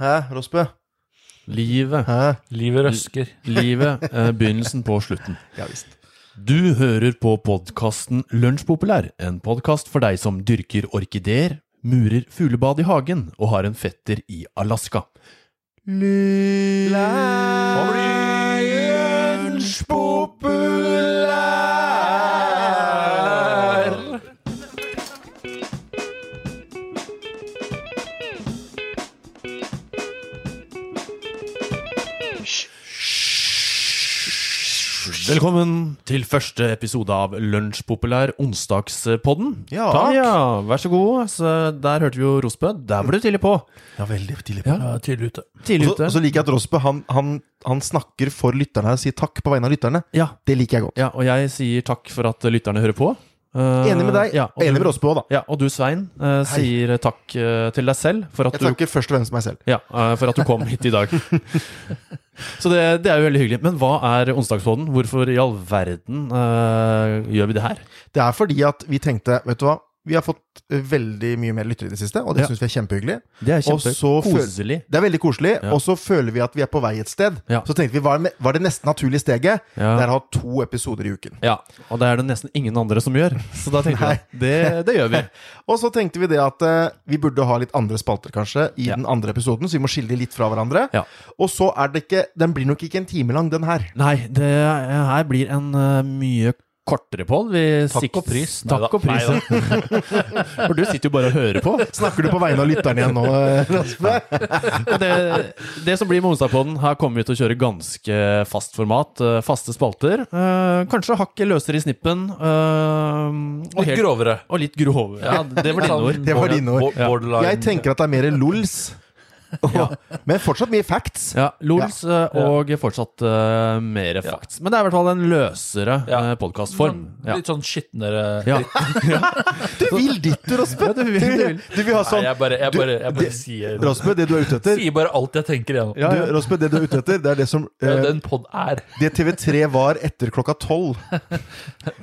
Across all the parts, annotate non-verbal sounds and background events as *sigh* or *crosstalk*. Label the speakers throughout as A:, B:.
A: Hæ, Rosbø?
B: Livet.
A: Hæ?
C: Livet røsker.
B: Livet. eh, Begynnelsen på slutten.
A: Ja visst.
B: Du hører på podkasten Lunsjpopulær, en podkast for deg som dyrker orkideer, murer fuglebad i hagen og har en fetter i Alaska. Lunsjpopulær! Velkommen til første episode av Lunsjpopulær onsdagspodden.
A: Ja.
B: Takk. ja, Vær så god. Så der hørte vi jo Rosbø. Der ble du tidlig på.
A: Ja, veldig tidlig.
B: Ja.
C: Ja, tidlig ute.
B: Tidlig
A: Og så-
B: ute.
A: og så liker jeg at Rosbø han, han, han snakker for lytterne og sier takk på vegne av lytterne.
B: Ja,
A: Det liker jeg godt.
B: ja, og jeg sier takk for at lytterne hører på. Eh,
A: Enig med deg.
B: Ja, og
A: Enig med
B: du,
A: Rosbø òg, da.
B: ja, og du, Svein, eh, sier takk eh, til deg selv for at
A: Jeg
B: du
A: takker først og fremst meg selv.
B: Ja, eh, for at du kom hit
A: *laughs*
B: i dag. Så det, det er jo veldig hyggelig. Men hva er onsdagspodden? Hvorfor i all verden eh, gjør vi det her?
A: Det er fordi at vi tenkte, vet du hva Vi har fått eh, veldig mye mer lyttere i det siste, og det
B: Ja.
A: synes syns vi er kjempehyggelig.
B: Det er
A: Og så føl-
B: koselig.
A: Det er veldig koselig,
B: Ja.
A: og så føler vi at vi er på vei et sted.
B: Ja.
A: Så tenkte vi, hva er me- hva er det neste naturlige steget?
B: Ja.
A: Det er å ha to episoder i uken.
B: Ja, og det er det nesten ingen andre som gjør. Så da tenkte *laughs* jeg at det, det gjør vi.
A: Og så tenkte vi det at eh, vi burde ha litt andre spalter, kanskje, i
B: Ja.
A: den andre episoden, så vi må skille de litt fra hverandre.
B: Ja.
A: Og så er det ikke Den blir nok ikke en time lang, den her.
B: Nei, det her blir en eh, mye kortere poll.
C: Takk og pris.
B: Takk og pris. *laughs*
C: Neida.
B: For du sitter jo bare og hører på.
A: Snakker du på vegne av lytteren igjen nå,
B: *laughs*
A: eh, Rasmus?
B: Og Det, det som blir med Onsdagspodden, her kommer vi til å kjøre ganske fast format. eh, Faste spalter. Eh, Kanskje hakket løsere i snippen. eh, Og,
C: Litt
B: helt,
C: grovere. sånn
B: og litt grovere. Ja, det var dine ord.
A: Det var dine ord.
C: Bo- Borderline.
A: Jeg tenker at det er mer lols. Men fortsatt mye facts.
B: Ja, Lols eh, og fortsatt uh, mer facts. Men det er i hvert fall en løsere
C: Ja.
B: uh, podkastform.
C: Sånn-
B: Ja.
C: Litt sånn skitnere
B: Ja.
A: Du vil ditt, du, Rasmus! Du, vil- du vil ha
C: Nei,
A: sånn
C: jeg bare, jeg
A: Du-
C: bare, jeg bare
A: det-
C: sier det.
A: Rasmus, det du er ute etter,
C: Sier bare alt jeg tenker igjennom.
B: Ja, ja.
A: Du, Rasmus, det du er ute etter, det er det som
C: Det er
A: eh,
C: jo det en pod er.
A: Det TV3 var etter klokka tolv på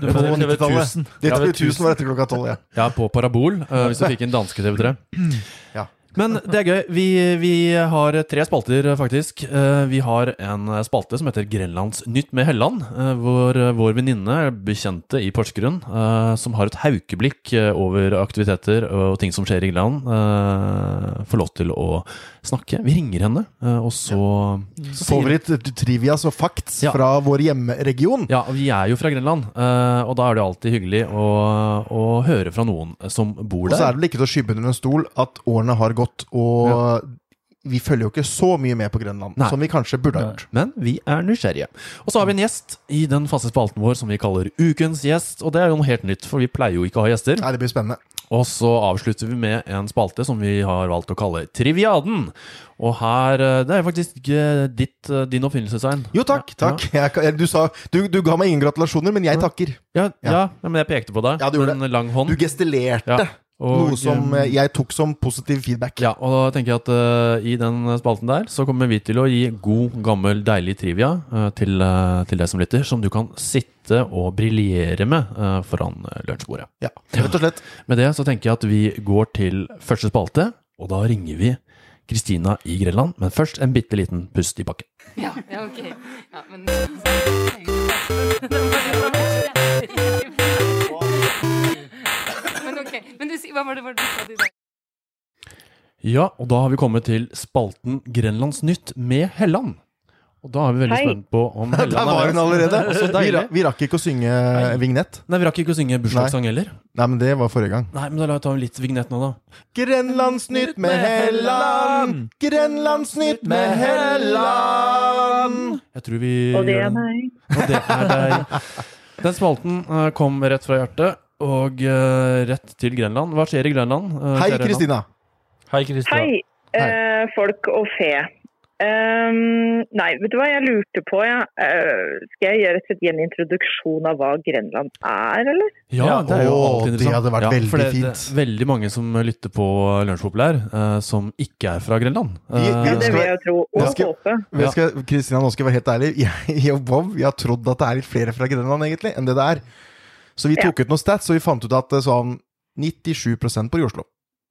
A: 90-tallet. Det
C: Ja,
A: TV
C: ved
A: 1000 var etter klokka tolv, ja.
B: Ja, på Parabol, eh, hvis du fikk inn danske TV3.
A: Ja.
B: Men det er gøy. Vi, vi har tre spalter, eh, faktisk. Eh, Vi har en spalte som heter Grenlands Nytt med Helland. eh, Hvor eh, vår venninne, bekjente i Porsgrunn, eh, som har et haukeblikk eh, over aktiviteter og ting som skjer i Grenland, eh, får lov til å snakke. Vi ringer henne, eh, og så, så sier-
A: Favoritt eh, trivias og facts
B: Ja.
A: fra vår hjemmeregion.
B: Ja, vi er jo fra Grenland, eh, og da er det alltid hyggelig å, å høre fra noen som bor
A: Og så
B: der.
A: er det vel ikke til å skyve under en stol at årene har gått, og vi følger jo ikke så mye med på Grønland
B: Nei.
A: som vi kanskje burde ha gjort.
B: Men vi er nysgjerrige. Og så har vi en gjest i den faste spalten vår som vi kaller Ukens gjest. Og det er jo noe helt nytt, for vi pleier jo ikke å ha gjester.
A: Nei, det blir spennende.
B: Og så avslutter vi med en spalte som vi har valgt å kalle Triviaden. Og her eh, Det er jo faktisk eh, ditt, eh, din oppfinnelse, Svein.
A: Jo, takk.
B: Ja.
A: takk. Jeg, kan- du, sa, du, du ga meg ingen gratulasjoner, men jeg takker.
B: Ja, ja, ja, men jeg pekte på deg
A: Ja, du gjorde
B: med en lang hånd.
A: Du gestilerte
B: Ja, og- um,
A: noe som eh, jeg tok som positiv feedback.
B: Ja, og da tenker jeg at eh, i den spalten der så kommer vi til å gi god, gammel, deilig trivia eh, til, eh, til deg som lytter, som du kan sitte og briljere med eh, foran uh, lunsjbordet.
A: Ja, rett og slett.
B: Med det så tenker jeg at vi går til første spalte, og da ringer vi Kristina i Grenland, men først en bitte liten pust i bakken.
D: Ja, ja ok. Ja, men... Men ok, men du, si- hva var det, var det du sa til deg?
B: Ja, og da har vi kommet til spalten Grenlandsnytt med Helland. Og da er vi veldig
E: Hei.
B: spent på *laughs* om Helland
A: Der var hun allerede.
B: Det er så
A: Vi, ra
B: deilig.
A: vi rakk ikke å synge vignett.
B: Nei, vi rakk ikke å synge bursdagssang heller.
A: Nei, men det var forrige gang.
B: Nei, men da tar vi litt vignett nå, da.
A: Grenlandsnytt med Helland! Grenlandsnytt med Helland!
B: Jeg tror vi
E: Og det
B: gjør
E: er
B: den.
E: meg.
B: Og det er deg. Den spalten eh, kom rett fra hjertet, og eh, rett til Grenland. Hva skjer i Grenland? eh,
A: Hei,
B: kjære Helland?
A: Kristina.
C: Hei, Kristian.
E: Hei, eh, folk og fe. Ehm, nei, vet du hva jeg lurte på? jeg? Eh, skal jeg gjøre et gi en introduksjon av hva Grenland er, eller?
B: Ja,
C: Ja,
B: det er jo
A: åh, det
B: alltid interessant.
A: hadde vært
B: ja,
A: veldig
B: for det, Det
A: fint.
B: er veldig mange som lytter på Lunsjpopulær, eh, som ikke er fra Grenland.
A: Vi- vi-
E: Ja,
B: Eh,
E: det vil jeg jo tro. Og
A: Ja, skal-
E: håpe.
A: Men
B: Ja.
A: skal, Kristina, nå skal jeg være helt ærlig. *laughs* Jeg, jeg og Bob vi har trodd at det er litt flere fra Grenland egentlig, enn det det er. Så vi tok ut noen stats, og vi fant ut at eh, sånn 97 bor i Oslo.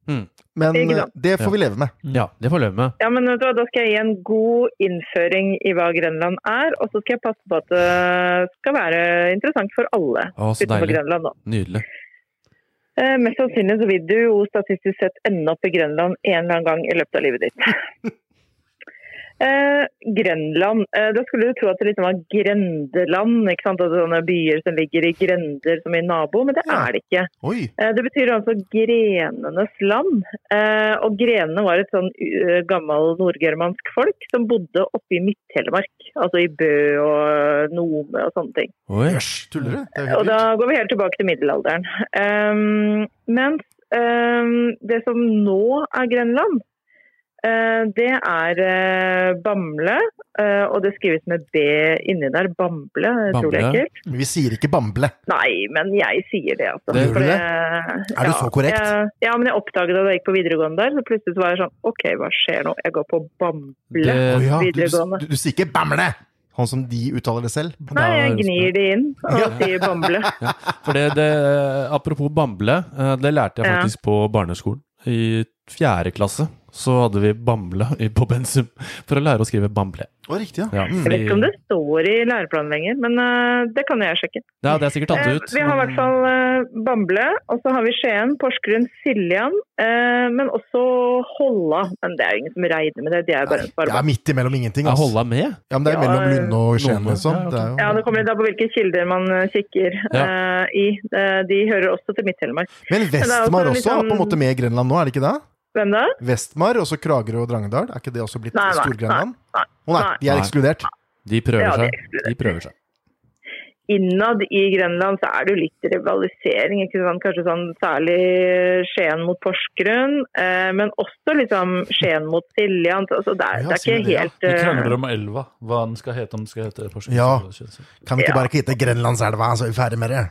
B: Mm.
A: Men
E: Ikke
A: eh,
E: sant.
A: det får vi leve med.
B: Ja, det får jeg leve med.
E: Ja, men vet du hva, Da skal jeg gi en god innføring i hva Grenland er, og så skal jeg passe på at det skal være interessant for alle
B: Å, så
E: utenfor
B: deilig.
E: Grenland. Da.
B: Nydelig.
E: Eh, mest sannsynlig så vil du jo statistisk sett ende opp i Grenland en eller annen gang i løpet av livet ditt. Eh, Grenland. Eh, da skulle du tro at det liksom var grendeland, ikke sant? At det er sånne byer som ligger i grender som i nabo, men det
A: Ja.
E: er det ikke.
A: Oi!
E: Eh, Det betyr altså grenenes land. Eh, Og grenene var et sånn eh, gammel nordgermansk folk som bodde oppe i Midt-Telemark. Altså i Bø og Nome og sånne ting.
B: Oi.
A: Jøss, tuller du? Det er jo
E: Og
A: helt
E: da
A: vilt.
E: går vi helt tilbake til middelalderen. Um, mens um, det som nå er Grenland, eh, det er eh, Bamble, eh, og det skrives med B inni der. Bamble, utrolig
B: Bamble.
E: ekkelt.
A: Men Vi sier ikke Bamble.
E: Nei, men jeg sier det, altså.
B: Det-
A: Gjør du
E: For
A: det? Er du
E: ja,
A: så korrekt?
E: Jeg, ja, men jeg oppdaget det da jeg gikk på videregående der. Så plutselig så var jeg sånn OK, hva skjer nå? Jeg går på Bamble
B: Det,
A: Å ja, du,
E: videregående.
A: du, du sier ikke Bamble! Han som de uttaler det selv.
E: Nei, jeg
B: Da-
E: gnir det inn og
B: Ja.
E: sier
A: *laughs*
E: Bamble.
B: For det, det, apropos bamble, eh, det lærte jeg
E: Ja.
B: faktisk på barneskolen. I fjerde klasse så hadde vi bamble i- på pensum for å lære å skrive bamble.
A: Å, riktig, ja.
B: Ja,
A: Mm.
E: Jeg vet ikke om
B: fordi-
E: det står i læreplanen lenger, men eh, det kan jeg sjekke.
B: Ja, det er sikkert tatt
E: Eh,
B: ut.
E: vi har i
B: men-
E: hvert fall eh, Bamble, og så har vi Skien, Porsgrunn, Siljan, eh, men også Holla. Men det er jo ingen som regner med det, de er jo bare en
A: Det
E: sparebank.
A: er midt imellom ingenting.
B: Er
A: Altså.
B: Holla med?
A: Ja, men det er
E: Ja, eh,
A: mellom Lunde og Skien,
B: Lunde.
A: liksom.
B: Ja, ok.
A: Det er jo-
E: Ja, Det kommer litt an på hvilke kilder man eh, kikker eh, i. Eh, de hører også til Midt-Telemark.
A: Men Vestmar
E: litt
A: også er på en
E: sånn-
A: måte med i Grenland nå, er det ikke det?
E: Hvem da?
A: Vestmar, og så Kragerø og Drangedal. Er ikke det også blitt
E: Nei, nei,
A: Stor-Grenland?
E: nei,
A: Å nei,
E: nei.
A: de er
B: Nei.
A: ekskludert.
B: De prøver
E: Ja, det
B: seg. De prøver seg.
E: Innad i Grenland så er det jo litt rivalisering, ikke sant? kanskje sånn særlig Skien mot Porsgrunn, eh, men også liksom Skien mot Siljan. Altså det,
A: Ja,
E: er, det er
A: sier det,
E: ikke
A: ja.
E: helt
C: Vi
E: eh,
C: krangler om elva. Hva den skal hete, om den skal hete Porsgrunn.
A: Ja.
C: eller Kjønsøy.
A: Kan vi ikke
E: Ja.
A: bare kvitte Grenlandselva, så er vi ferdig med det?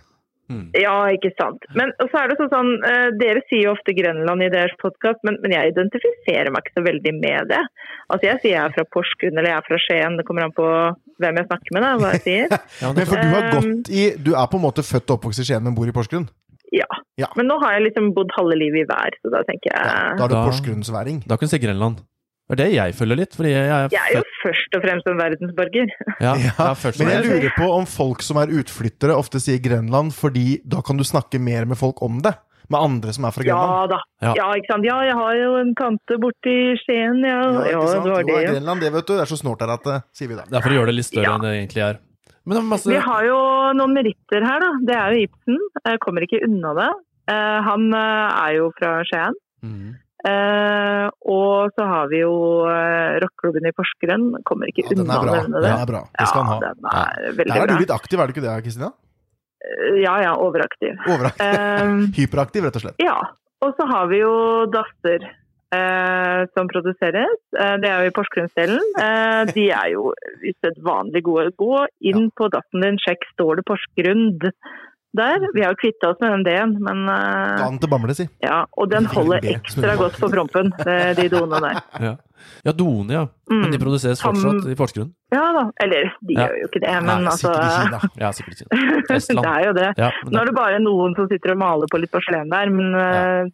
E: Ja, ikke sant. Men og så er det sånn, sånn eh, Dere sier jo ofte Grenland i deres podkast, men, men jeg identifiserer meg ikke så veldig med det. Altså Jeg sier jeg er fra Porsgrunn eller jeg er fra Skien, det kommer an på hvem jeg snakker med. Da, hva jeg
A: *laughs*
E: sier.
B: Ja,
A: Men
B: det,
A: for du har
E: Um,
A: gått i Du er på en måte født og oppvokst i Skien, men bor i Porsgrunn?
E: Men nå har jeg liksom bodd halve livet i hver, så da tenker
A: Ja,
E: jeg
A: da er du
B: Da-
A: porsgrunnsværing.
B: da kan du se Grenland. Det er det jeg følger litt, fordi jeg er
E: Jeg er jo
B: født-
E: først og fremst en verdensborger.
B: Ja, jeg
A: Ja,
B: er først
A: Men jeg
B: med.
A: lurer på om folk som er utflyttere, ofte sier Grenland, fordi da kan du snakke mer med folk om det. Med andre som er fra Grenland.
E: Ja da.
B: Ja.
E: Ja. ikke sant. Ja, jeg har jo en tante borti Skien, ja.
A: Ja,
E: Ja,
A: ikke sant?
E: det var
A: Jo,
E: det,
A: er
E: ja.
A: Grenland, det vet du. Det er så snålt der at det sier vi da.
B: Det er for å gjøre det litt større
E: Ja.
B: enn det egentlig er. Men det er masse
E: Vi har jo noen meritter her, da. Det er jo Ibsen. Jeg kommer ikke unna det. Eh, Han eh, er jo fra Skien.
B: Mhm.
E: Eh, og så har vi jo eh, rockeklubben i Porsgrunn. Kommer ikke
A: Ja, den
E: unna
A: er
E: å
A: bra.
E: nevne det.
A: Den er bra. Det skal han ha.
E: den er veldig
A: Der er
E: bra.
A: du litt aktiv, er du ikke det, Kristina?
E: Ja, ja,
A: *laughs*
E: overaktiv.
A: Overaktiv.
E: Eh,
A: Hyperaktiv, rett og slett.
E: ja. Og så har vi jo Datter. Eh, som produseres. Eh, det er jo i Porsgrunnsdelen. Eh, de er jo usedvanlig gode. Gå inn på datten din, sjekk står det Porsgrunn der. Vi har jo kvitta oss med den D-en, men eh,
A: Dan til Bamble, si.
E: ja. Og den holder ekstra godt på prompen, eh, de doene der.
B: Ja, Doene, ja. Men de
E: Mm.
B: produseres
E: Tam-
B: fortsatt i Porsgrunn?
E: Ja da. Eller, de
B: Ja.
E: gjør jo ikke det, men
A: Nei,
E: altså
A: sikkert
E: *laughs*
A: i Kina.
B: Ja, sikkert ikke.
E: Det
B: Estland.
E: er jo det.
B: Ja, men,
E: Nå
B: det,
E: er det bare noen som sitter og maler på litt porselen der, men, eh,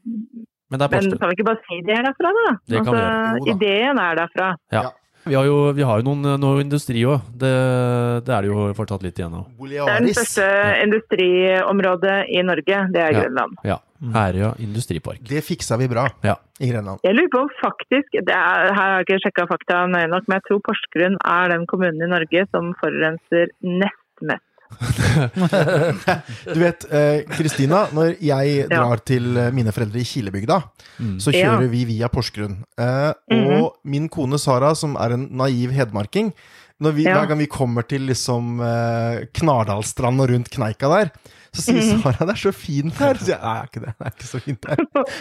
B: men det er
E: men
B: Porsgrunn.
E: kan vi ikke bare si de er derfra, da? Altså,
B: Det kan vi
A: gjøre. Jo da.
E: ideen er derfra.
B: Vi har jo, vi har jo noen, eh, noe industri òg. Det, det er det jo fortsatt litt igjen av.
E: Det er den
A: Bolearis.
E: største industriområdet i Norge, det er
B: Ja.
E: Grønland.
B: Ja.
A: Mm.
B: Herøya industripark.
A: Det fiksa vi bra
B: Ja.
A: i Grenland.
E: Jeg lurer på om faktisk, det er, her har jeg ikke sjekka fakta nøye nok, men jeg tror Porsgrunn er den kommunen i Norge som forurenser nest mest.
A: Du vet, eh, Kristina, når jeg
E: Ja.
A: drar til eh, mine foreldre i Kilebygda,
B: Mm.
A: så kjører vi via Porsgrunn. Eh,
E: Mhm.
A: Og min kone Sara, som er en naiv hedmarking, når vi,
E: Ja.
A: hver gang vi kommer til liksom eh, Knardalstrand og rundt Kneika der, så sier
E: Mhm.
A: Sara 'det er så fint her'. Så jeg, Nei, det er ikke det. Det er ikke så fint her.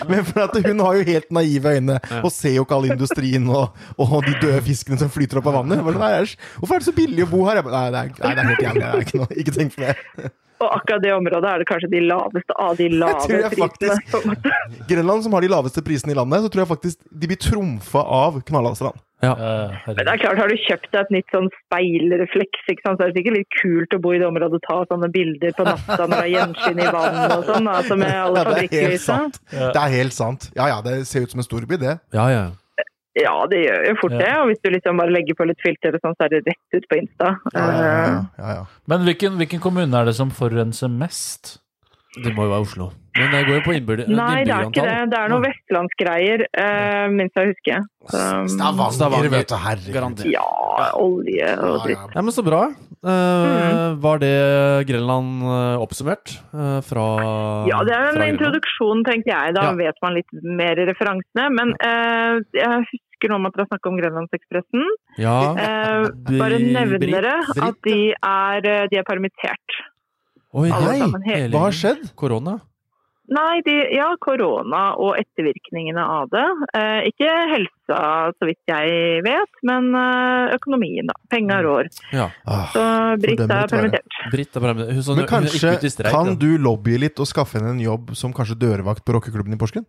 E: *laughs*
A: Men for at hun har jo helt naive øyne og ser jo ikke all industrien og, og de døde fiskene som flyter opp av vannet. Jeg bare, Nei, æsj, hvorfor er det så billig å bo her? Jeg bare, nei, det er, nei, det er helt jævlig. Det er ikke, noe, ikke tenk på det.
E: Og akkurat det området er det kanskje de laveste av de lave
A: tror jeg
E: prisene.
A: faktisk- Grenland, som har de laveste prisene i landet, så tror jeg faktisk de blir trumfa av Knarlandstrand.
C: Eh,
E: Men det er
C: herregud.
E: klart, har du kjøpt deg et nytt sånn speilrefleks, ikke sant? så er det sikkert litt kult å bo i det området og ta sånne bilder på natta når det er gjenskinn i vann og sånn, altså med alle
A: *laughs* Ja, det
E: liksom.
A: er helt
E: fabrikklysa.
A: sant.
C: Ja.
A: Det er helt sant. Ja ja, det ser ut som en storby, det.
B: Ja, ja.
E: Ja, det gjør jo fort det. Og hvis du liksom bare legger på litt filter og sånn, så er det rett ut på Insta. Eh,
A: Ja, ja, ja,
E: Uh-huh.
A: ja, ja.
C: Men hvilken, hvilken kommune er det som forurenser mest?
B: Det må jo være Oslo. Men det går jo på innbyrde-
E: Nei, det er ikke det.
B: innbyggerantall.
E: Det er noe vestlandsgreier, eh, minst jeg husker. Så,
A: Stavanger,
B: Stavanger,
A: vet du. Herregud.
B: Garantert.
E: ja, olje og dritt.
B: Ja, men så bra. Eh,
E: Mm.
B: Var det Grenland eh, oppsummert eh, fra
E: Ja, det er
B: fra
E: en
B: Grenland?
E: introduksjon, tenker jeg. Da
B: Ja.
E: vet man litt mer i referansene. Men eh, jeg husker nå om at dere har snakket om Grønlandsekspressen.
B: Ja.
E: Eh, bare
B: Bri-
E: nevner
B: Brit-
E: dere
B: Brit-
E: at de er, eh, de er permittert.
B: Oi,
A: Alle
B: nei!
E: sammen helt-
B: hele
A: Hva har
B: gjengen.
A: skjedd?
B: Korona?
E: Nei, de, ja, korona og ettervirkningene av det. Eh, ikke helsa, så vidt jeg vet, men eh, økonomien, da. Penga rår.
B: Ja.
A: Ah.
E: Så Britt
A: fordømmer
E: er
A: det være.
E: permittert.
B: Britt er bare hun, sånn,
A: Men
B: hun er
A: kanskje
B: ikke ute i streik,
A: kan
B: da.
A: du lobbye litt og skaffe henne en jobb som kanskje dørvakt på rockeklubben i Porsgrunn?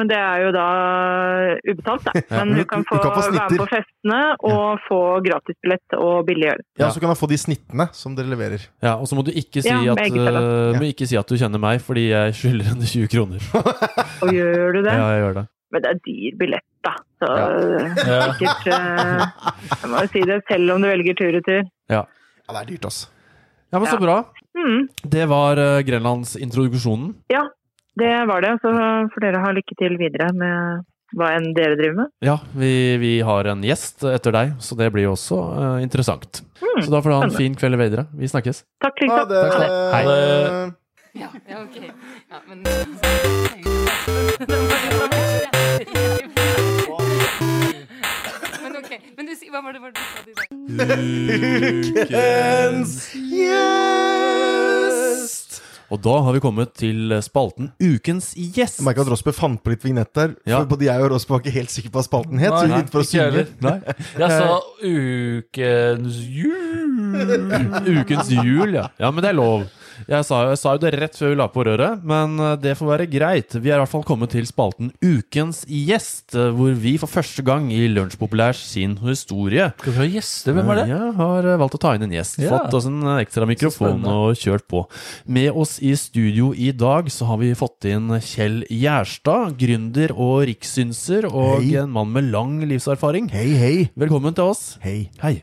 E: Men det er jo da ubetalt, da.
B: Ja,
E: Men
A: men
E: hun kan
A: du-
E: få
A: du kan få
E: være
A: snitter.
E: med på festene og få gratisbillett og billig øl.
A: Ja,
B: Ja.
A: Så kan hun få de snittene som dere leverer.
B: Ja, og så må du ikke si,
E: Ja,
B: at,
E: begge deler.
B: eh, må ikke si at du kjenner meg, fordi jeg skylder henne 20 kroner.
E: Og gjør du det?
B: Ja, jeg gjør det.
E: Men det er dyr billett, da. Så
B: Ja.
C: Ja.
E: sikkert eh, Jeg må jo si det, selv om du velger tur-retur.
A: Ja, det er dyrt, altså.
B: Ja, men
E: Ja.
B: så bra.
E: Mm,
B: Det var eh, Grenlandsintroduksjonen.
E: det var det. Så får dere ha lykke til videre med hva enn dere driver med.
B: Ja, vi, vi har en gjest etter deg, så det blir jo også eh, interessant. Så da får du ha en
E: Mm, spennende.
B: fin kveld videre. Vi snakkes.
E: *laughs* Takk, liksom.
B: Takk skal
A: Ha det.
C: Hei.
D: Ja, ja, ok. Ja, men Men ok, men du, si- hva var det, hva var det du sa til deg?
A: Ukens gjest!
B: Og da har vi kommet til eh, spalten Ukens gjest.
A: Jeg merka at Rosberg fant på litt vignett der.
B: Ja.
A: For både jeg og Rosberg var ikke helt sikre på hva spalten het. *laughs* så vi
C: Nei,
A: begynte for å
C: ikke jeg
A: synge.
C: heller. Jeg sa ukens jul.
B: Ukens jul, ja. ja. Men det er lov. Jeg sa, jeg sa jo det rett før vi la på røret, men eh, det får være greit. Vi er i hvert fall kommet til spalten Ukens gjest, eh, hvor vi for første gang i Lunsjpopulærs sin historie
C: Skal vi ha gjester? Hvem er det?
B: Jeg har eh, valgt å ta inn en gjest.
C: Ja.
B: Fått oss en eh, ekstra mikrofon
C: spennende.
B: og kjørt på. Med oss i studio i dag så har vi fått inn Kjell Gjerstad. Gründer og rikssynser og
A: Hei.
B: en mann med lang livserfaring.
A: Hei, hei.
B: Velkommen til oss.
A: Hei.
B: Hei.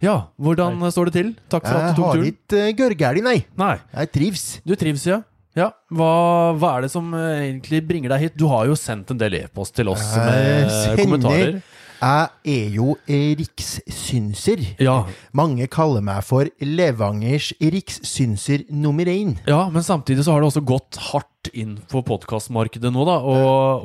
B: Ja, hvordan eh, står det til? Takk for at
A: Jeg
B: du tok
A: har
B: turen.
A: litt uh, gørrgæli, nei.
B: Nei,
A: Jeg trives.
B: du trives, ja. Ja, hva, hva er det som eh, egentlig bringer deg hit? Du har jo sendt en del e-post til oss med eh,
A: Jeg sender-
B: kommentarer.
A: Jeg er jo eh, rikssynser.
B: Ja,
A: Mange kaller meg for Levangers rikssynser nummer én.
B: Ja, men samtidig så har det også gått hardt inn på podkastmarkedet nå, da. Og,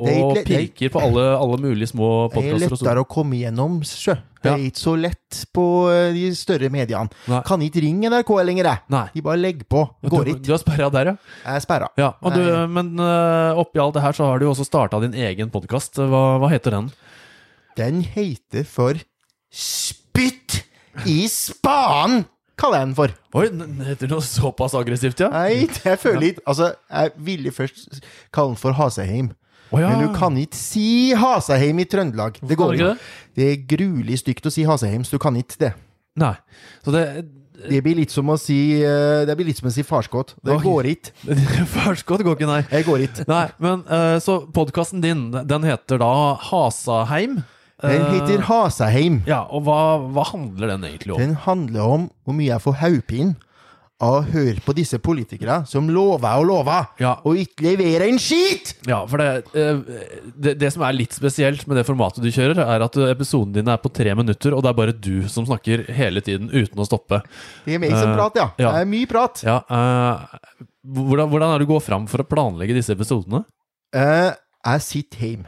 A: Det er
B: og
A: ikke- det er-
B: pirker på alle, alle mulige små
A: Det er
B: podkaster.
A: lettere å komme gjennom, sjø. Det
B: Ja.
A: er ikke så lett på eh, de større mediene.
B: Nei.
A: Kan ikke ringe NRK lenger, jeg.
B: Nei.
A: De bare legger på. Går
B: Du,
A: ikke.
B: du er sperra der, ja.
A: Jeg er sperra.
B: ja og du,
A: Nei.
B: men øh, oppi alt det her så har du jo også starta din egen podkast. Hva, hva heter den?
A: Den heter for Spytt i spaden, kaller jeg den for.
B: Oi, den heter noe såpass aggressivt, Mm. ja?
A: Nei, det- jeg føler ikke Altså, jeg ville først kalle den for Haseheim.
B: Å ja.
A: Men du kan ikke si Haseheim i Trøndelag. Det
C: kan
A: går
C: du
A: ikke.
C: ikke
A: Det er gruelig stygt å si Haseheim, så du kan ikke det.
B: Nei. Så det *laughs*
A: Det blir litt som å si, eh, det blir litt som å si farskott. Det
B: Oi.
A: går ikke.
B: Førstgodt går ikke, nei.
A: Jeg går ikke.
B: Nei, men øh, så podkasten din, den heter da Hasaheim?
A: Den
B: Eh,
A: heter Haseheim.
B: Ja, og hva, hva handler den egentlig om?
A: Den handler om hvor mye jeg får hodepine av å høre på disse politikere som lover og lover,
B: Ja.
A: og ikke leverer en skit!
B: Ja, for det, eh, det, det som er litt spesielt med det formatet du kjører, er at episoden din er på tre minutter, og det er bare du som snakker hele tiden uten å stoppe.
A: Det er meg som
B: Eh,
A: prater, ja.
B: ja.
A: Det er mye prat.
B: Ja, eh, hvordan, hvordan er det du går fram for å planlegge disse episodene?
A: Eh, jeg sitter hjemme.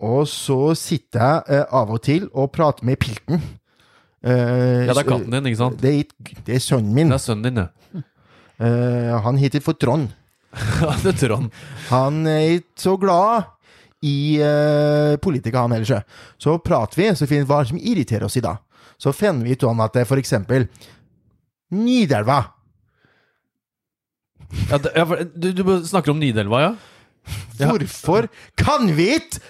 A: Og så sitter jeg eh, av og til og prater med pilten. Eh,
B: Ja, det er katten din, ikke sant?
A: Det er, ikke- det er sønnen min.
B: Det er sønnen din, ja. *laughs*
A: Eh, han heter for Trond.
B: Ja, det er Trond.
A: Han er ikke så glad i eh, politikere, han heller ikke. Så prater vi, så finner vi hva som irriterer oss i dag. Så finner vi ut om at det er for eksempel Nidelva.
B: Ja, det, ja, for, du, du snakker om Nidelva, ja? Ja.
A: Hvorfor kan vi ikke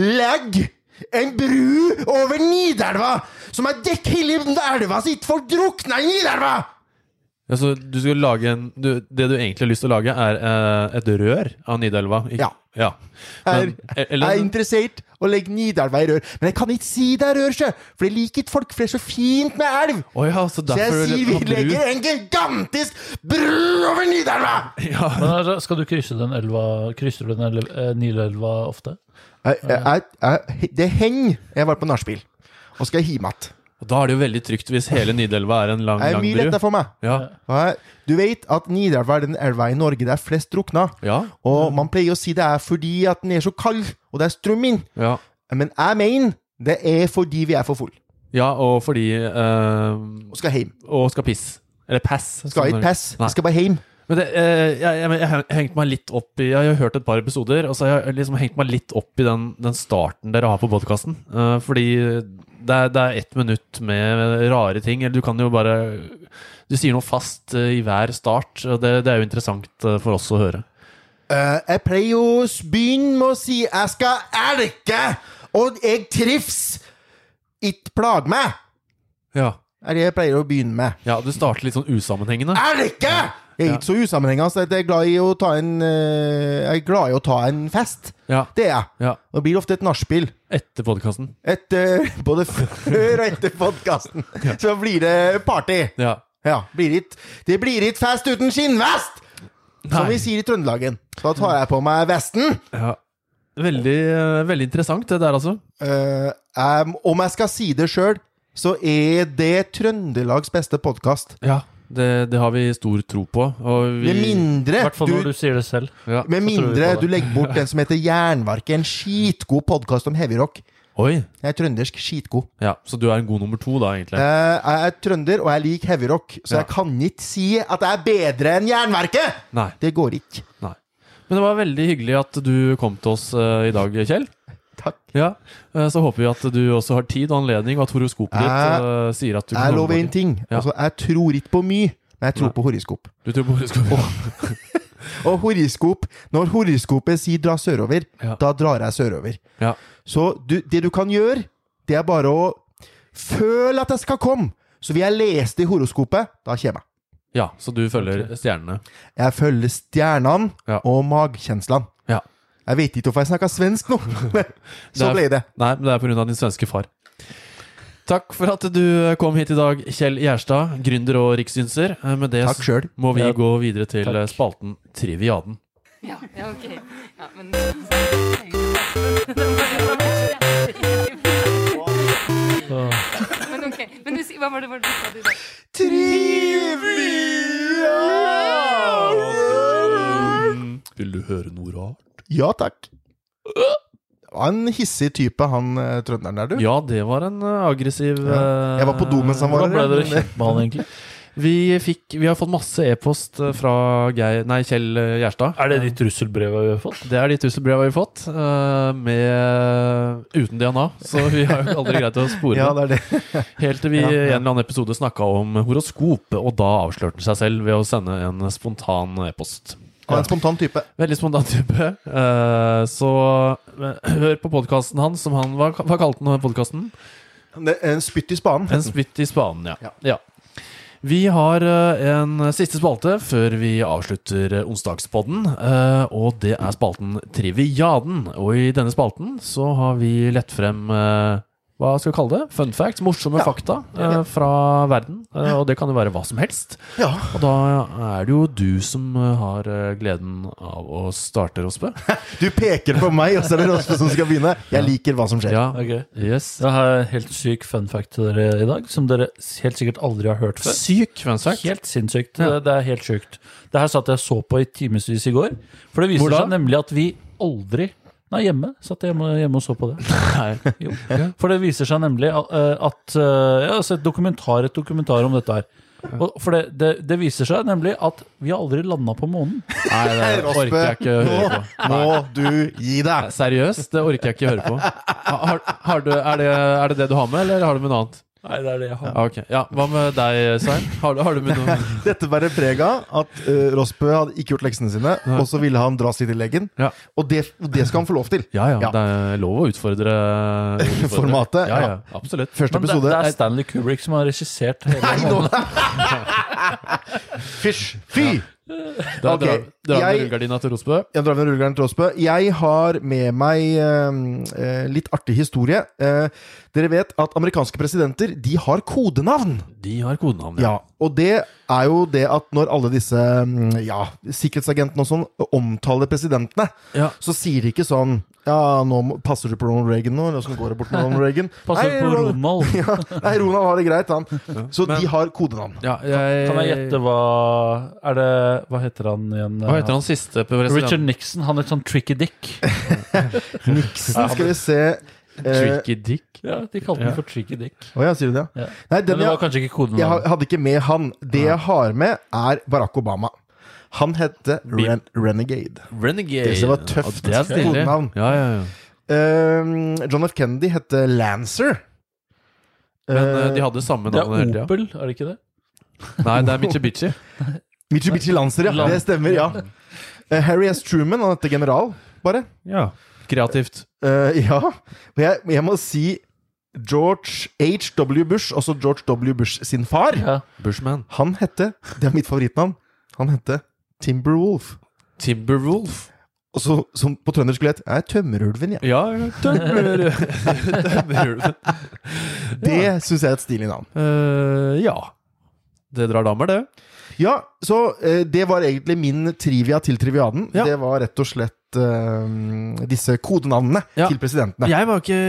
A: legge En bru over Nidelva som er dekk hele elva sitt! Folk drukna i Nidelva!
B: Altså, du skal lage en, du, det du egentlig har lyst til å lage, er eh, et rør av Nidelva? Ikke-
A: Ja.
B: ja.
A: Er,
B: Men, e- eller,
A: er interessert å legge Nidelva i rør. Men jeg kan ikke si det er rør, sjø! For det liker folk flest så fint med elv!
B: Å ja, så
A: Så jeg
B: derfor vil
A: sier
B: ha
A: vi
B: bru.
A: legger en gigantisk bru over Nidelva!
B: ja.
C: Men altså, skal du krysse den elva Krysser du den elv- eh, Nilelva ofte?
A: Jeg- jeg- jeg- Det henger. Jeg var på nachspiel. Og skal hjem igjen.
B: Og da er det jo veldig trygt hvis hele Nidelva er en lang,
A: Det er
B: lang
A: mye
B: bru.
A: lettere for meg.
B: Ja.
A: Og jeg- Du vet at Nidelva er den elva i Norge der flest drukna.
B: Ja.
A: Og man pleier å si det er fordi at den er så kald, og det er strøm inn.
B: ja.
A: Men jeg mener det er fordi vi er for full
B: Ja, og fordi eh,
A: og skal hjem.
B: Og skal pisse. Eller pass.
A: Skal ikke passe, vi skal bare hjem.
B: Men det, eh, jeg, jeg, jeg har hengt meg litt opp i Jeg har jo hørt et par episoder, og så har jeg liksom hengt meg litt opp i den, den starten dere har på podkasten. fordi det er, det er ett minutt med rare ting. Eller du kan jo bare Du sier noe fast eh, i hver start, og det, det er jo interessant eh, for oss å høre.
A: Eh, jeg pleier å s- begynne med å si jeg skal elke, og jeg trivs. Ikke plag meg,
B: Ja.
A: er det jeg pleier å begynne med.
B: ja, du starter litt sånn usammenhengende.
A: Elke! Jeg er ikke så usammenhengende, så jeg er glad i å ta en, eh, jeg er glad i å ta en fest.
B: Ja,
A: Det er jeg.
B: ja.
A: Og det blir ofte et nachspiel.
B: Etter podkasten.
A: Etter, *laughs* både før og etter podkasten. Så blir det party.
B: Ja.
A: Ja, blir it, det blir ikke fest uten skinnvest! Som
B: Nei.
A: vi sier i Trøndelagen. Da tar jeg på meg vesten.
B: ja. Veldig, eh, veldig interessant, det der, altså.
A: Eh, em, om jeg skal si det sjøl, så er det Trøndelags beste podkast.
B: Ja, det, det har vi stor tro på. Og vi,
A: Med mindre
C: I hvert fall
A: du-
C: når du sier det selv.
B: ja.
A: Med
C: tror vi
A: mindre
C: på
A: du
C: det.
A: legger bort den som heter Jernverket, en skitgod podkast om heavyrock.
B: Oi!
A: Jeg er trøndersk skitgod.
B: Ja, Så du er en god nummer to, da, egentlig?
A: Eh, Jeg er trønder, og jeg liker heavyrock, så
B: Ja.
A: jeg kan ikke si at jeg er bedre enn Jernverket!
B: Nei.
A: Det går ikke.
B: Nei. Men det var veldig hyggelig at du kom til oss eh, i dag, Kjell.
A: Takk.
B: Ja, eh, Så håper vi at du også har tid og anledning, og at horoskopet ditt eh, sier at du
A: Jeg
B: komme
A: lover en
B: tilbake.
A: ting.
B: Ja.
A: Altså, jeg tror ikke på mye, men jeg tror
B: Nei.
A: på horoskop.
B: Du tror på horoskopet?
A: Og horoskop Når horoskopet sier 'dra sørover',
B: Ja.
A: da drar jeg sørover.
B: Ja.
A: Så du, det du kan gjøre, det er bare å føle at jeg skal komme. Så vil jeg lese det i horoskopet, da kommer jeg.
B: ja, så du følger stjernene.
A: Jeg følger stjernene
B: Ja.
A: og magkjenslene.
B: Ja.
A: Jeg vet ikke hvorfor jeg snakka svensk nå, *laughs* men så
B: er-
A: ble det.
B: Nei, men det er pga. din svenske far. Takk for at du eh, kom hit i dag, Kjell Gjerstad, gründer og rikssynser. Eh, Med det
A: Takk sjøl.
B: må vi
C: Ja.
B: gå videre til
C: Takk.
B: eh, spalten Triviaden.
D: Ja, ja, ok. Ja, men Men
C: Så.
D: ok. Men du, hva var det, hva var det du sa du sa?
B: Mm. Vil du høre noe rart?
A: Ja takk. Det var en hissig type, han eh, trønderen der, du.
B: Ja, det var en eh, aggressiv eh,
A: Ja. Jeg var på do mens han var
C: Hvordan ble
A: der,
C: dere
A: men-
C: kjent med han, egentlig?
B: Vi, fikk, vi har fått masse e-post eh, fra Geir, nei, Kjell eh, Gjerstad.
C: Er det de trusselbreva vi har fått?
B: Det er de trusselbreva vi har fått, eh, med, uten DNA. Så vi har jo aldri greit å spore
A: *laughs* Ja,
B: det.
A: det er det.
B: Helt til vi i
A: Ja, ja.
B: en eller annen episode snakka om horoskop, og da avslørte han seg selv ved å sende en spontan e-post.
A: Han var en spontan type.
B: Veldig spontan type. Eh, Så eh, hør på podkasten hans, som han Hva, hva kalte han podkasten?
A: Det er En spytt i spaden.
B: En spytt i spanen, ja.
A: Ja.
B: ja. Vi har eh, en siste spalte før vi avslutter eh, onsdagspodden, eh, og det er spalten Triviaden. Og i denne spalten så har vi lett frem eh, hva skal vi kalle det? Fun facts? Morsomme fakta eh, fra verden. eh, Og det kan jo være hva som helst.
A: Ja.
B: Og da er det jo du som eh, har eh, gleden av å starte, Rospe.
A: Du peker på meg, og så er det Rasmus som skal begynne. Jeg liker hva som skjer.
B: *laughs* Ja.
C: Ok.
B: Yes.
C: Jeg har en helt syk fun fact til dere i dag, som dere helt sikkert aldri har hørt før.
B: Syk fun fact.
C: Helt sinnssykt.
B: Ja.
C: Det, det er helt sjukt. Det her satt jeg og så på i timevis i går. For det viser
B: Hvor da?
C: seg nemlig at vi aldri Nei, hjemme. Satt jeg hjemme, hjemme og så på det. Nei, jo. For det viser seg nemlig at, at eh, Jeg har sett dokumentar, et dokumentar om dette her. Og for det, det, det viser seg nemlig at vi har aldri landa på månen.
B: Nei, det orker jeg ikke å høre på.
A: Må du gi deg!
B: Seriøst, det orker jeg ikke høre på. Har, har du, er, det, er det det du har med, eller har du med noe annet?
C: Nei, det er det jeg har.
B: Ja, ok. ja, Hva med deg, Svein? Har, du- har du med noe
A: Dette bærer preg av at eh, Rossbø hadde ikke gjort leksene sine, og så ville han dra seg til legen.
B: Ja.
A: Og det, og det skal han få lov til.
B: Ja, ja,
A: Ja.
B: det er lov å utfordre, utfordre.
A: Formatet,
B: Ja,
A: ja.
B: ja, absolutt.
A: Første
C: Men det,
A: episode
C: det er
A: er
C: Stanley Kubrick som har regissert
A: *laughs*
C: hele
A: Nei, nå!
B: *laughs*
A: Fysj! Fy!
B: Da
A: Ok,
B: drar, drar vi
A: jeg-
B: rullegardina til Rosbø.
A: Jeg drar med rullegardinen til Rossbø. Jeg har med meg eh, eh, litt artig historie. Eh, dere vet at amerikanske presidenter de har kodenavn.
B: De har kodenavn,
A: Ja, og det er jo det at når alle disse mm, ja, sikkerhetsagentene og sånn omtaler presidentene,
B: Ja.
A: så sier de ikke sånn Ja, nå må- passer du på Ronald Reagan nå? Eller åssen går det bort med Ronald Reagan?
C: *laughs* Passer
A: Nei,
C: Altså, på
A: Ronald-
C: Ronald.
A: Ja, nei, Ronald har det greit, han. Så
B: Men-
A: de har kodenavn.
B: Ja, jeg,
C: Kan jeg gjette hva Er det Hva heter han igjen?
B: Hva heter han siste presidenten?
C: Richard Nixon. Han er et sånn tricky dick.
A: Nixon, skal vi se eh,
B: Tricky Dick?
C: Ja, De kalte
B: Ja.
C: den for tricky dick.
A: Å ja, sier du det?
C: Ja.
A: Nei,
C: Men
A: den
C: det var
A: jeg,
C: kanskje ikke koden.
A: jeg har- hadde ikke med han. Det jeg har med, er Barack Obama. Han hette Ren Renegade.
B: Renegade.
A: Det som var tøft.
B: Ja, det er stilig.
A: Kodenavn.
B: Ja, ja, ja.
A: Eh, John F. Kennedy hette Lancer.
B: Men
A: Eh,
B: eh, de hadde samme
C: Det
B: navn hele
C: er
B: tida.
C: Opel, er det ikke det?
B: Nei, det er Mitsubishi.
A: Mitsubishi Lancer, ja.
C: Lan-
A: Det stemmer, ja. Eh, Harry S. Truman, han heter general, bare.
B: Ja. Kreativt.
A: Eh, ja. Og jeg, jeg må si George H.W. Bush, også George W. Bush sin far,
C: Ja.
B: Bushman.
A: han hette Det er mitt favorittnavn. Han hette Timberwolf.
B: Timberwolf.
A: Og så, som på trøndersk skulle hett Jeg er tømmerulven, jeg.
B: Ja, ja, *laughs* tømmer- tømmerulven.
A: Det syns jeg er et stilig navn.
B: Eh, ja. Det drar damer, det.
A: Ja, så eh, det var egentlig min trivia til triviaden.
B: Ja.
A: Det var rett og slett eh, disse kodenavnene
B: Ja.
A: til presidentene.
B: Jeg var ikke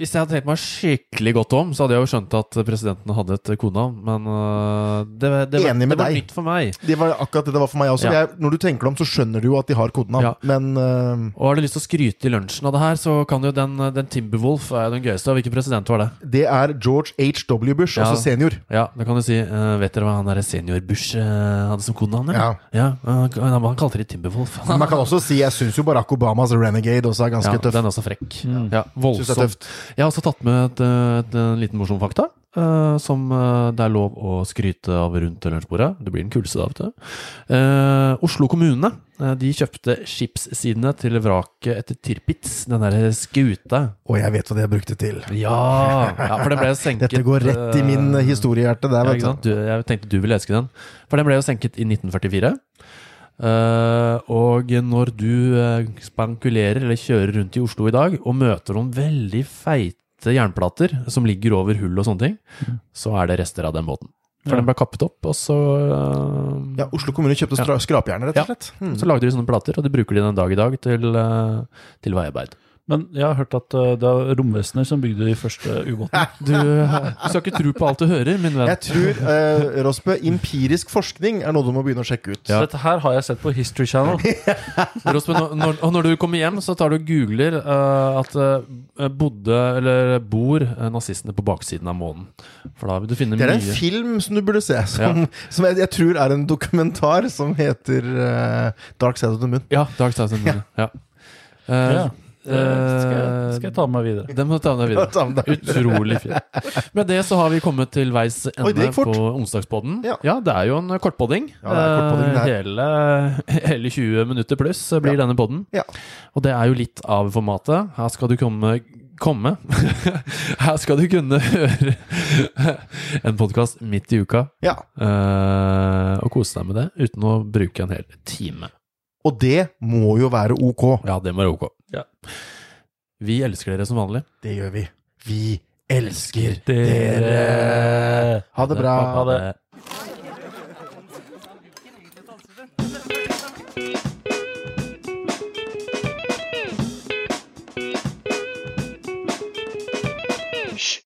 B: Hvis jeg hadde tenkt meg skikkelig godt om, så hadde jeg jo skjønt at presidenten hadde et kodenavn, men øh, det, det, var-
A: Enig med
B: det var
A: deg.
B: nytt for meg.
A: Det var akkurat det det var for meg også.
B: Ja.
A: Jeg, når du tenker deg om, så skjønner du jo at de har kodenavn.
B: Ja.
A: Men eh,
B: Og har du lyst til å skryte i lunsjen av det her, så kan jo den, eh, den Timberwolf er jo den gøyeste. Og hvilken president var det?
A: det er George H.W. Bush,
B: Ja.
A: altså senior.
B: Ja, da kan du si øh, Vet dere hva han derre senior Bush øh, hadde som kodenavn?
A: Ja.
B: ja øh, han, han kalte det Timberwolf. *laughs*
A: Men man kan også si jeg syns jo Barack Obamas Renegade også er ganske
B: Ja,
A: tøff. Mm.
B: den er også frekk. Ja,
A: Synes det er
B: voldsomt.
A: tøft.
B: Jeg har også tatt med et, eh, et, en liten morsom fakta, eh, som eh, det er lov å skryte av rundt lunsjbordet. Du blir den kuleste da, vet du. Eh, Oslo kommune eh, de kjøpte skipssidene til vraket etter Tirpitz, den derre skuta.
A: Og jeg vet hva det jeg brukte til.
B: Ja, ja, for den ble jo senket
A: Dette går rett i min
B: eh,
A: historiehjerte der,
B: ja,
A: vet
B: ikke sant?
A: du.
B: Du, jeg tenkte du ville elske den. For den ble jo senket i 1944. Eh, og når du eh, spankulerer eller kjører rundt i Oslo i dag og møter noen veldig feite jernplater som ligger over hull og sånne ting, så er det rester av den båten. For
C: Ja.
B: den ble kappet opp, og så, eh,
A: Ja, Oslo kommune kjøpte stra- skrapjern, rett
B: Ja.
A: og slett. Hmm.
B: så lagde de sånne plater, og de bruker de den dag i dag til, eh, til veiarbeid.
C: Men jeg har hørt at uh, det er romvesener som bygde de første ubåtene.
A: *laughs*
B: Du, eh, du skal ikke tro på alt du hører, min venn.
A: Jeg tror, eh, Rosbø, empirisk forskning er noe du må begynne å sjekke ut.
C: Så dette her har jeg sett på History
A: *laughs*
C: Channel.
B: Rosmen, når- når, og når du kommer hjem, så tar du og googler eh, at eh, bodde, eller bor eh, nazistene på baksiden av månen. For da vil du finne
A: Det er en
B: mye
A: film som du burde se, som, som jeg, jeg tror er en dokumentar som heter eh, Dark Side of the Moon.
B: Ja, Dark Side of the Moon. Ja. Eh,
C: Ja. Det skal, jeg- skal jeg ta med meg videre.
B: Den må du ta med deg
A: Ja, *laughs*
B: videre.
A: ta med deg.
B: Utrolig fin. Med det så har vi kommet til veis
A: Oi, det
B: ende
A: gikk
B: på
A: fort.
B: onsdagspodden.
A: Ja.
B: det er jo en kortpodding.
A: Ja, det er kortpodding, det
B: Eh,
A: her.
B: hele, hele *laughs* 20 minutter pluss blir denne podden.
A: Ja.
B: Og det er jo litt av formatet. Her skal du komme Komme? *laughs* Her skal du kunne høre *laughs* en podkast midt i uka
A: Ja.
B: eh, og kose deg med det uten å bruke en hel time.
A: Og det må jo være ok.
B: Ja, det må være ok.
C: Ja.
B: Vi elsker dere som vanlig.
A: Det gjør vi. Vi elsker
C: Dere
A: Ha det bra.
C: Ha det.
E: Hysj!